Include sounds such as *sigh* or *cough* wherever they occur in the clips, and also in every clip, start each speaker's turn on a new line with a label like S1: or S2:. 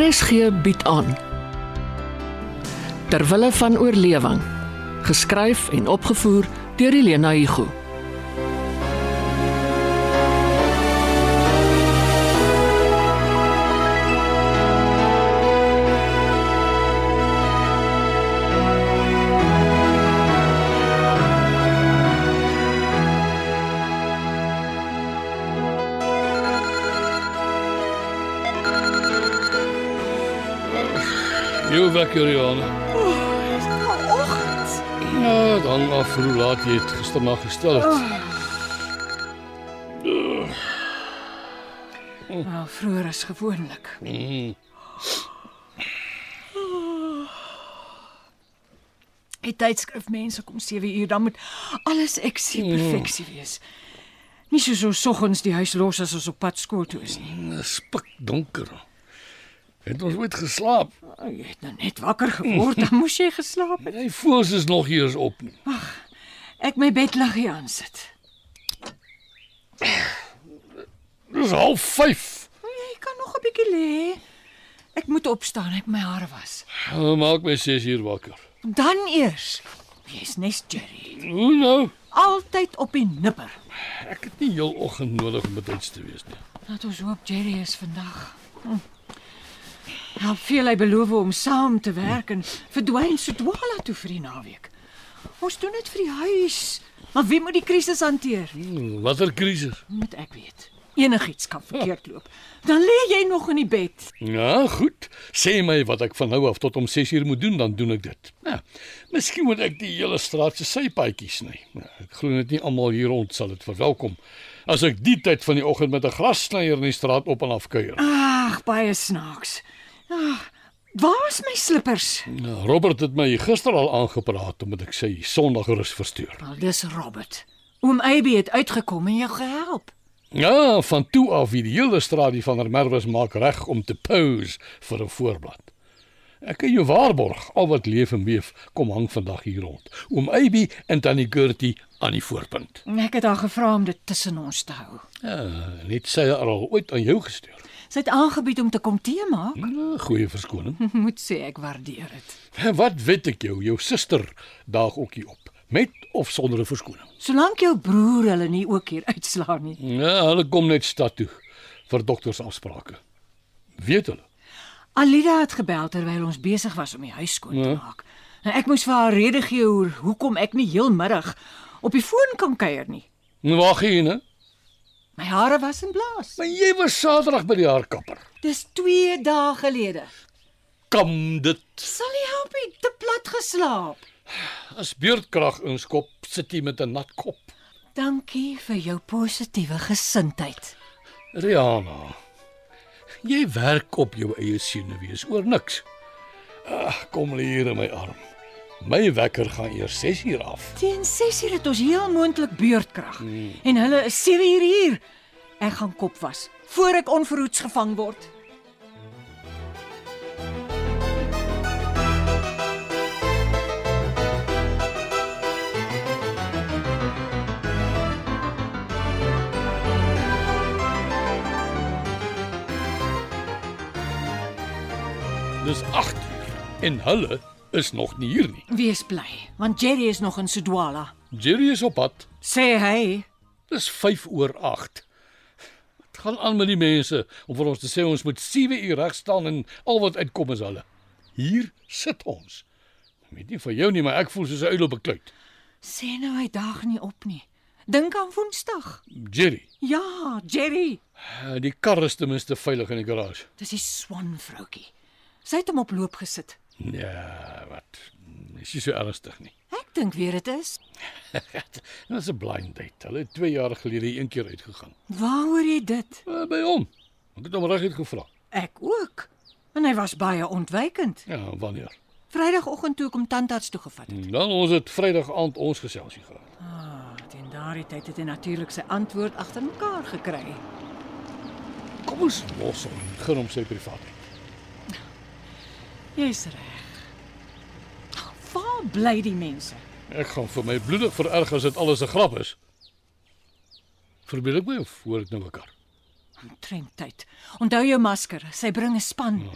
S1: RSG bied aan Terwille van oorlewing geskryf en opgevoer deur Elena Igu
S2: Jou weg, Juliana.
S3: Vanoggend.
S2: Ja, dan af hoe laat jy dit gisternag gestel het.
S3: Nou, vroeër as gewoonlik.
S2: Mm.
S3: Die tydskrif mense kom 7 uur, dan moet alles eksie perfeksie wees. Nie soos ons soggens die huis los as ons op pad skool toe is nie.
S2: Spik donker. Het ons ooit geslaap?
S3: Oh, jy het nou net wakker geword, dan moes jy geslaap het.
S2: Jy voels is nog hier is op nie.
S3: Ek my bedliggie aan sit.
S2: Dis half 5.
S3: Nee, Jy kan nog 'n bietjie lê. Ek moet opstaan, ek my hare was.
S2: Maak my 6 uur wakker.
S3: Dan eers. Jy's nes Jerry.
S2: Hoe nou?
S3: Altyd op die nipper.
S2: Ek het nie heel oggend nodig om betyds te wees nie.
S3: Laat ons hoop Jerry is vandag. Hm. Help veel hy beloof om saam te werk en verdwyn Sodwala toe vir die naweek. Ons doen dit vir die huis. Maar wie moet die krisis hanteer?
S2: Hmm, Watter krisis?
S3: Moet ek weet. Enigiets kan verkeerd loop. Dan lê jy nog in die bed.
S2: Ja, goed. Sê my wat ek van nou af tot om 6 uur moet doen, dan doen ek dit. Ja. Miskien moet ek die hele straat se sypaadjie sny. Ja, ek glo net nie almal hier rond sal dit verwelkom as ek die tyd van die oggend met 'n grassnyer in die straat op en af kuier.
S3: Ag, baie snaaks. Ag, waar is my slippers?
S2: Ja, Robert het my gister al aangepraat omdat ek sy Sondagrus versteur.
S3: Wel, dis Robert. Oom Abby het uitgekom en jou gehelp.
S2: Ja, van toe af wie die hele straat die van der Merwes maak reg om te pose vir 'n voorblad. Ek kan jou waarborg, al wat leef en beef kom hang vandag hier rond. Oom Aby en tannie Gertie aan die voorpunt.
S3: En Ek het haar gevra om dit tussen ons te hou.
S2: Ja, net sy het al ooit aan jou gestuur.
S3: Sy het aangebied om te kom tee maak.
S2: Ja, goeie verskoning. *laughs*
S3: *laughs* Moet sê ek waardeer dit.
S2: En wat weet ek jou, jou suster daag ook hier op, met of sonder 'n verskoning.
S3: Solank jou broer hulle nie ook hier uitslaan nie.
S2: Ja, hulle kom net stad toe vir doktersafsprake. Weet hulle?
S3: Alida het gebel terwyl ons besig was om die huis skoon te maak. Nou ek moes vir haar rede gee oor hoekom ek nie heelmiddag op die foon kan kuier nie.
S2: Nou wag hier, né?
S3: My hare was in blaas.
S2: Maar jy was Saterdag by die haarkapper.
S3: Dis 2 dae gelede.
S2: Kam dit
S3: Sal nie help nie, te plat geslaap.
S2: as beurtkrag inskop, sit jy met 'n nat kop.
S3: Dankie vir jou positiewe gesindheid.
S2: Rihanna. Jy werk op jou eie siene wees oor niks. Ag, kom hier in my arm. My wekker gaan eers 6 uur af.
S3: Teen 6uur het ons heel moontlik beurtkrag en hulle is 7uur hier. Ek gaan kop was voor ek onverhoeds gevang word.
S2: Dis 8 uur en hulle is nog nie hier nie.
S3: Wees bly, want Jerry is nog in Sodwala.
S2: Jerry is op pad.
S3: Sê hy,
S2: Dis 5 oor 8. Wat gaan aan met die mense om vir ons te sê ons moet 7 uur reg staan en al wat uitkom is hulle. Hier sit ons. Ek weet nie vir jou nie, maar ek voel soos 'n uil op 'n kluit.
S3: sê nou hy dag nie op nie. Dink aan Woensdag.
S2: Jerry,
S3: Ja, Jerry.
S2: eh, die kar is ten minste veilig in die garage.
S3: Dis die swan vroutjie. Sy het hom op loop gesit.
S2: Ja, wat? Is nie so ernstig nie. *laughs*
S3: Ek dink weer dit is.
S2: Dit is 'n blind date. Hulle het 2 jaar gelede een keer uitgegaan.
S3: Waaroor jy dit?
S2: Eh, By hom. Ek het hom reguit gevra.
S3: Ek ook. En hy was baie ontwykend.
S2: Ja, wanneer?
S3: Vrydagoggend toe ek hom tandarts toe gevat het.
S2: Dan ons het Vrydag aand ons geselsie gehad.
S3: Ah, teen daardie tyd het hy natuurlik sy antwoord agter mekaar gekry.
S2: Kom ons los hom en gun hom sy privaatheid.
S3: Jy's reg. Ag, Waar bly die mense?
S2: Ek gaan vir my bloedig vererg as dit alles 'n grap is. Verbeel ek my of hoor ek nou mekaar?
S3: Trem tyd. Onthou jou masker. Sy bring 'n span.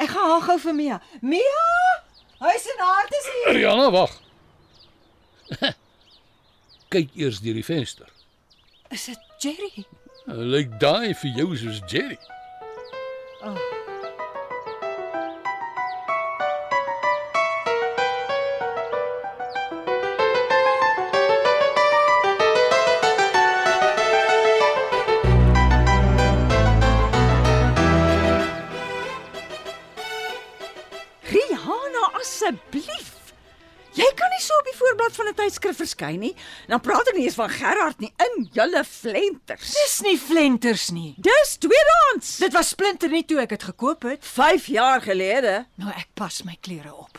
S3: Ek gaan haar gou vir Mia. Mia! Huis en hart is hier.
S2: Rihanna, wag. *laughs* Kyk eers deur die venster.
S3: Is dit Jerry?
S2: Nou, Lyk daai vir jou soos Jerry.
S4: Rihanna, asseblief. Jy kan nie so op die voorblad van 'n tydskrif verskyn nie. Dan praat ek nie eens van Gerard nie in julle flenters.
S3: Dis nie flenters nie.
S4: Dis tweedehands.
S3: Dit was splinter nie toe ek dit gekoop het.
S4: 5 jaar gelede.
S3: Nou ek pas my klere op.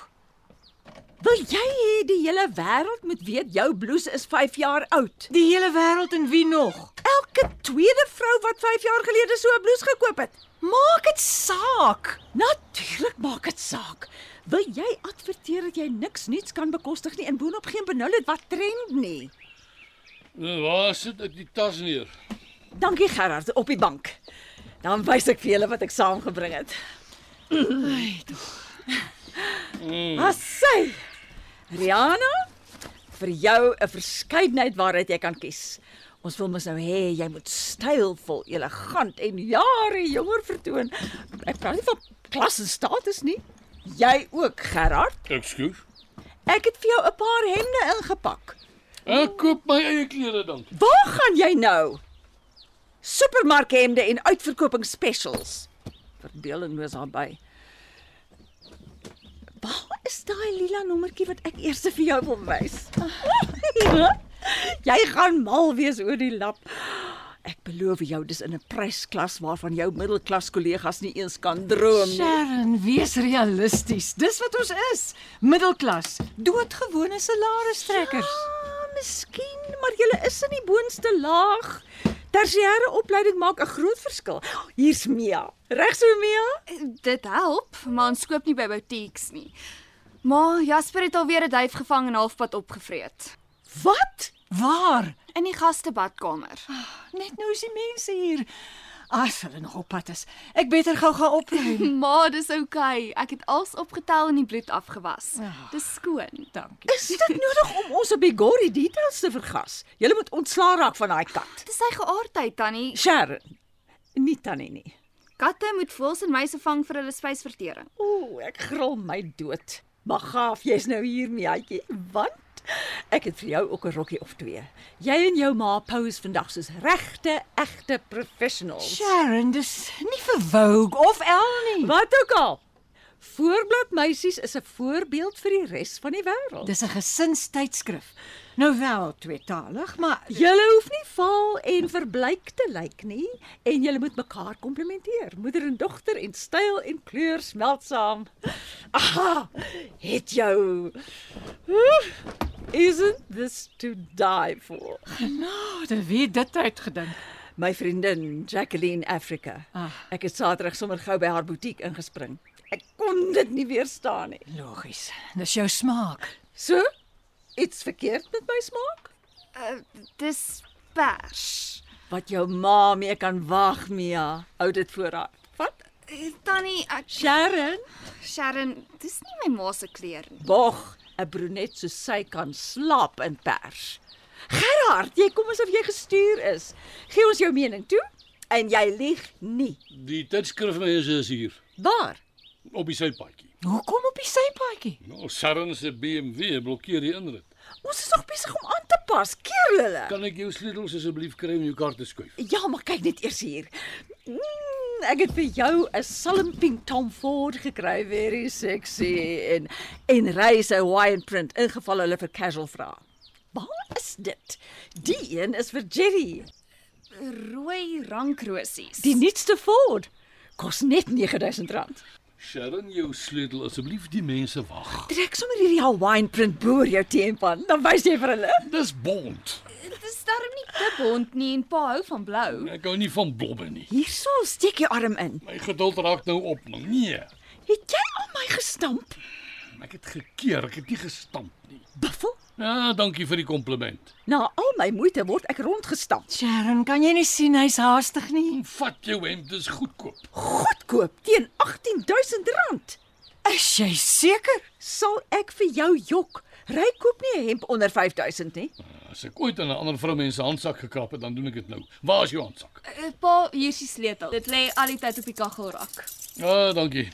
S4: Wil jy hê die hele wêreld moet weet jou blouse is 5 jaar oud?
S3: Die hele wêreld en wie nog?
S4: Elke tweede vrou wat 5 jaar gelede so 'n blouse gekoop het.
S3: Maak dit saak.
S4: Natuurlik maak dit saak. Wil jy adverteer dat jy niks nuuts kan bekostig nie en boonop geen benul het wat trend nie?
S2: Nou, Waar sit dit die tas neer?
S4: Dankie Gerard op die bank. Dan wys ek vir julle wat ek saamgebring het. Asai. Ah, Rihanna, vir jou 'n verskeidenheid waaruit jy kan kies. Ons wil mos nou hê jy moet stylvol, elegant en jare jonger vertoon. Ek praat nie van klas en status nie. Jy ook, Gerard.
S2: Ekskuus.
S4: Ek het vir jou 'n paar hemde ingepak.
S2: Ek koop my eie klere dan.
S4: Waar gaan jy nou? Supermarkhemde en uitverkoping specials. Verbeeling is daar by. Waar is daai lila nommertjie wat ek eers vir jou wil wys? *laughs* jy gaan mal wees oor die lap. Ek beloof jou dis in 'n prysklas waarvan jou middelklas kollegas nie eens kan droom nie.
S3: Sharon, wees realisties. Dis wat ons is. Middelklas, doodgewone salarisstrekkers.
S4: Ah, miskien, maar jy is in die boonste laag. Tersiêre opleiding maak 'n groot verskil. Hier's Mia. Reg so Mia?
S5: Dit help, maar ons koop nie by boutiques nie. Maar Jasper het alweer 'n duif gevang en halfpad opgevreet
S4: Wat?
S3: Waar?
S5: in die gastebadkamer.
S3: Net nou is die mense hier. As hulle nog op pad is. Ek beter gou gaan opruim.
S4: *laughs*
S5: Maar dis oukei. Okay. Ek het alles opgetel en die bloed afgewas. Dis skoon.
S3: Dankie.
S4: Is dit nodig om ons op die gory details te vergas? Jy moet ontslaa raak van daai kat.
S5: Dis sy geaardheid tannie.
S4: Sharon. Nie tannie nie.
S5: Katte moet voëls en muise vang vir hulle spysvertering.
S4: Ooh, ek gril my dood. Maar gaaf, jy's nou hier Miaatjie, want ek het vir jou ook 'n rokkie of twee. Jy en jou ma pose vandag soos regte, egte professionals.
S3: Sharon, dis nie vir Vogue of El nie.
S4: Wat ook al. Voorbladmeisies is 'n voorbeeld vir die res van die wêreld.
S3: Dis 'n gesinstydskrif. Nou wel tweetalig, maar
S4: Julle hoef nie vaal en verbleik te lyk nie en julle moet mekaar komplimenteer. Moeder en dogter en styl en kleur smelt saam. Aha, het jou. Oeh, Isn't this to die for?
S3: genade, wie het Oh, dit uitgedink?
S4: My vriendin Jacqueline Africa.
S3: Ah.
S4: Ek het Saterdag sommer gou by haar butiek ingespring. Ek kon dit nie weerstaan nie.
S3: Logies. Dis jou smaak.
S4: So? Iets verkeerd met my smaak?
S5: Uh, dis pers.
S4: Wat jou ma mee kan wag, Mia. Hou dit voor haar. Wat?
S5: Eh, Tannie, ek
S4: Sharon,
S5: Sharon, dis nie my ma se kleur nie.
S4: bog, 'n brunet soos sy kan slaap in pers. Gerard, jy kom asof jy gestuur is. Gee ons jou mening toe en jy lieg nie.
S2: Die tydskrifmense is hier
S4: Waar?
S2: op die sypaadjie.
S3: Hoekom op die sypaadjie?
S2: Nou, Sharon se BMW blokkeer die inrit.
S4: Ons is nog besig om aan te pas. Keer hulle.
S2: Kan ek jou sleutels asseblief kry om jou kar te skuif?
S4: Ja, maar kyk net eers hier. Mm, ek het vir jou 'n salmpink Tom Ford gekry, very sexy en en reis Hawaiian print ingeval hulle vir casual vra. Waar is dit? Die een is vir Jerry,
S5: Rooi rankrosies.
S4: die nuutste Ford. Kos net R9000.
S2: Sharon, jou sleutel asseblief, die mense wag.
S4: Trek sommer hierdie Hawaiian print boer jou teemp aan, dan wys jy vir hulle.
S2: Dis bond.
S5: Dis darm nie te bont nie en pa hou van blou.
S2: Ek hou nie van blobbe nie.
S4: Hierso, steek jou arm in.
S2: My geduld raak nou op. man. Nee,
S4: Het jy al my gestamp?
S2: ek het gekeer, ek het nie gestamp nie.
S4: Buffel?
S2: Ja, dankie vir die kompliment.
S4: Na al my moeite word ek rondgestamp.
S3: Sharon, kan jy nie sien hy's haastig nie?
S2: Vat jou hemp, dis goedkoop.
S4: Goedkoop teen R18000. rand.
S3: Is jy seker?
S4: Sal ek vir jou jok? Ry koop nie 'n hemp onder 5000 nie.
S2: As ek ooit aan 'n ander vrou mens se handsak gekrap het, dan doen ek dit nou. Waar is jou handsak?
S5: Eh, Pa, hier's die sleutel. Dit lê al die tyd op die kaggelrak.
S2: Ja, dankie.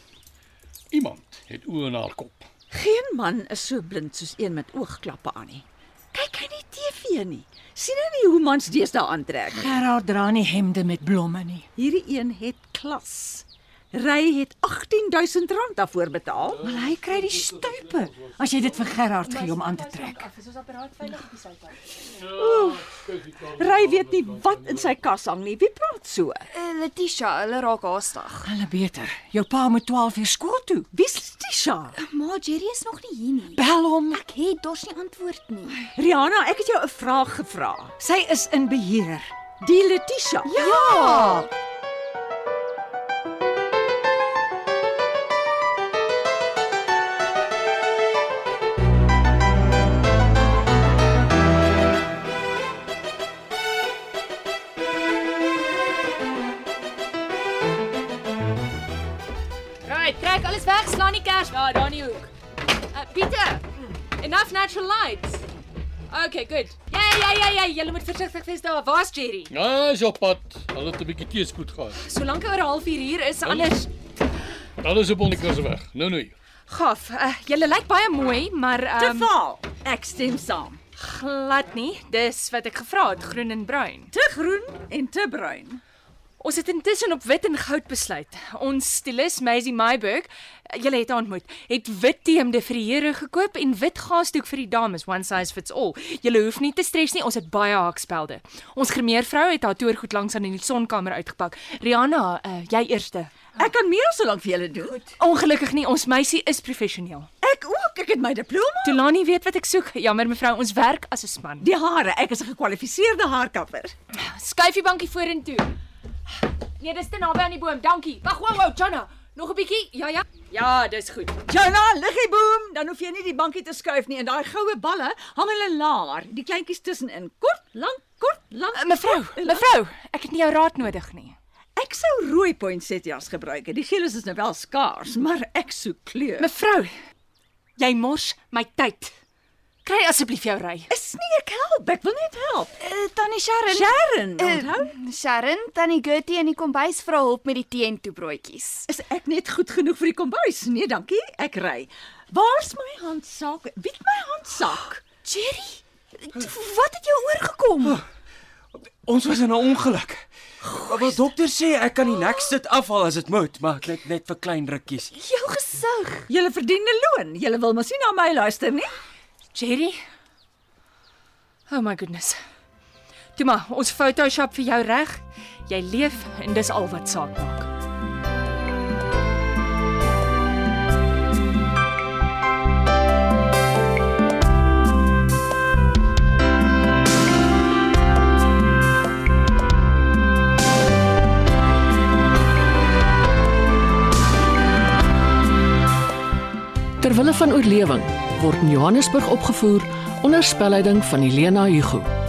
S2: Iemand het oë na haar kop.
S4: Geen man is so blind soos een met oogklappe aan nie. Kyk hy nie TV nie. sien hy nie hoe mans deesdae aantrek nie.
S3: Gerard dra nie hemde met blomme nie.
S4: Hierdie een het klas. Ry het R18000 rand daarvoor betaal.
S3: Wel hy kry die stuipe as jy dit vir Gerard gee om aan te trek.
S4: Ry weet nie wat in sy kas hang nie. Wie praat so?
S5: Eh, Letitia, hulle raak haastig.
S3: Hulle beter. Jou pa moet 12 uur skool toe.
S4: Wie's Tisha?
S5: Maar Jerry is nog nie hier nie.
S3: Bel hom.
S5: Ek het dors nie antwoord nie.
S4: Rihanna, ek het jou 'n vraag gevra.
S3: Sy is in beheer.
S4: Die Letitia. Ja.
S3: Ja.
S6: Right, trek alles weg, slaan die kers daar, daar in die hoek. Uh, Pieter, enough natural lights. Okay, good. Ja, ja, ja, ja, julle moet versigtig wees daar. Waar's Jerry?
S2: Ja, is op pad. Hulle het 'n bietjie teespoed gehad.
S6: Solank hy oor 'n halfuur hier is, anders
S2: Alles op onder kurse weg. Nou nou. hier.
S6: gaaf. Uh, julle lyk baie mooi, maar
S4: Te
S6: ehm um,
S4: vaal. Ek stem saam.
S6: glad nie. Dis wat ek gevra het, groen en bruin.
S4: Te groen en te bruin.
S6: Ons het intussen op wit en goud besluit. Ons stilis Maisie Meiburg, eh, julle het haar ontmoet, het wit teemde vir die here gekoop en wit gaasdoek vir die dames, one size fits all. Julle hoef nie te stres nie, ons het baie haakspelde. Ons gremeervrou het haar toergoed langs aan in die sonkamer uitgepak. Rihanna, uh, jy eerste.
S4: Ek kan meer as so lank vir julle doen. Goed.
S6: Ongelukkig nie, ons meisie is professioneel.
S4: Ek ook. Ek het my diploma.
S6: Tolani weet wat ek soek. Jammer mevrou, ons werk as 'n span.
S4: Die hare. Ek is 'n gekwalifiseerde haarkapper.
S6: Skuif die bankie vorentoe. Nee, dis te naby aan die boom. Dankie. Wag, wou, wou, Jana. Nog 'n bietjie? Ja, ja. Ja, dis goed.
S4: Jana, liggie boom, dan hoef jy nie die bankie te skuif nie en daai goue balle hang hulle laer, die kleintjies tussenin. Kort, lank, kort, lank.
S6: Eh, Mevrou, mevrou, ek het nie jou raad nodig nie.
S4: Ek sou rooi poinsettias gebruik. Die geel is nou wel skaars, maar ek soek kleur.
S6: Mevrou, jy mors my tyd. Kry asseblief jou ry.
S4: Is nie ek help, ek wil net help.
S5: Uh, Tannie Sharon.
S4: Sharon,
S5: Eh,
S4: onthou,
S5: Sharon, tannie Gertie in die kombuis vra hulp met die tee en toebroodjies.
S4: is ek net goed genoeg vir die kombuis? Nee, dankie, ek ry. Waar's my handsak? Wie het my handsak?
S5: Jerry, wat het jou oorgekom?
S7: Ons was in 'n ongeluk. Maar wat dokter sê, ek kan die nek sit afhaal as dit moet, maar net net vir klein rukkies.
S5: Jou gesig.
S4: Julle verdiende loon. Julle wil mos nie na my luister nie.
S6: Jerry. Oh my goodness. Toe maar, ons Photoshop vir jou reg. Jy leef en dis al wat saak maak.
S1: Terwille van oorlewing word in Johannesburg opgevoer onder spelleiding van Elena Hugo.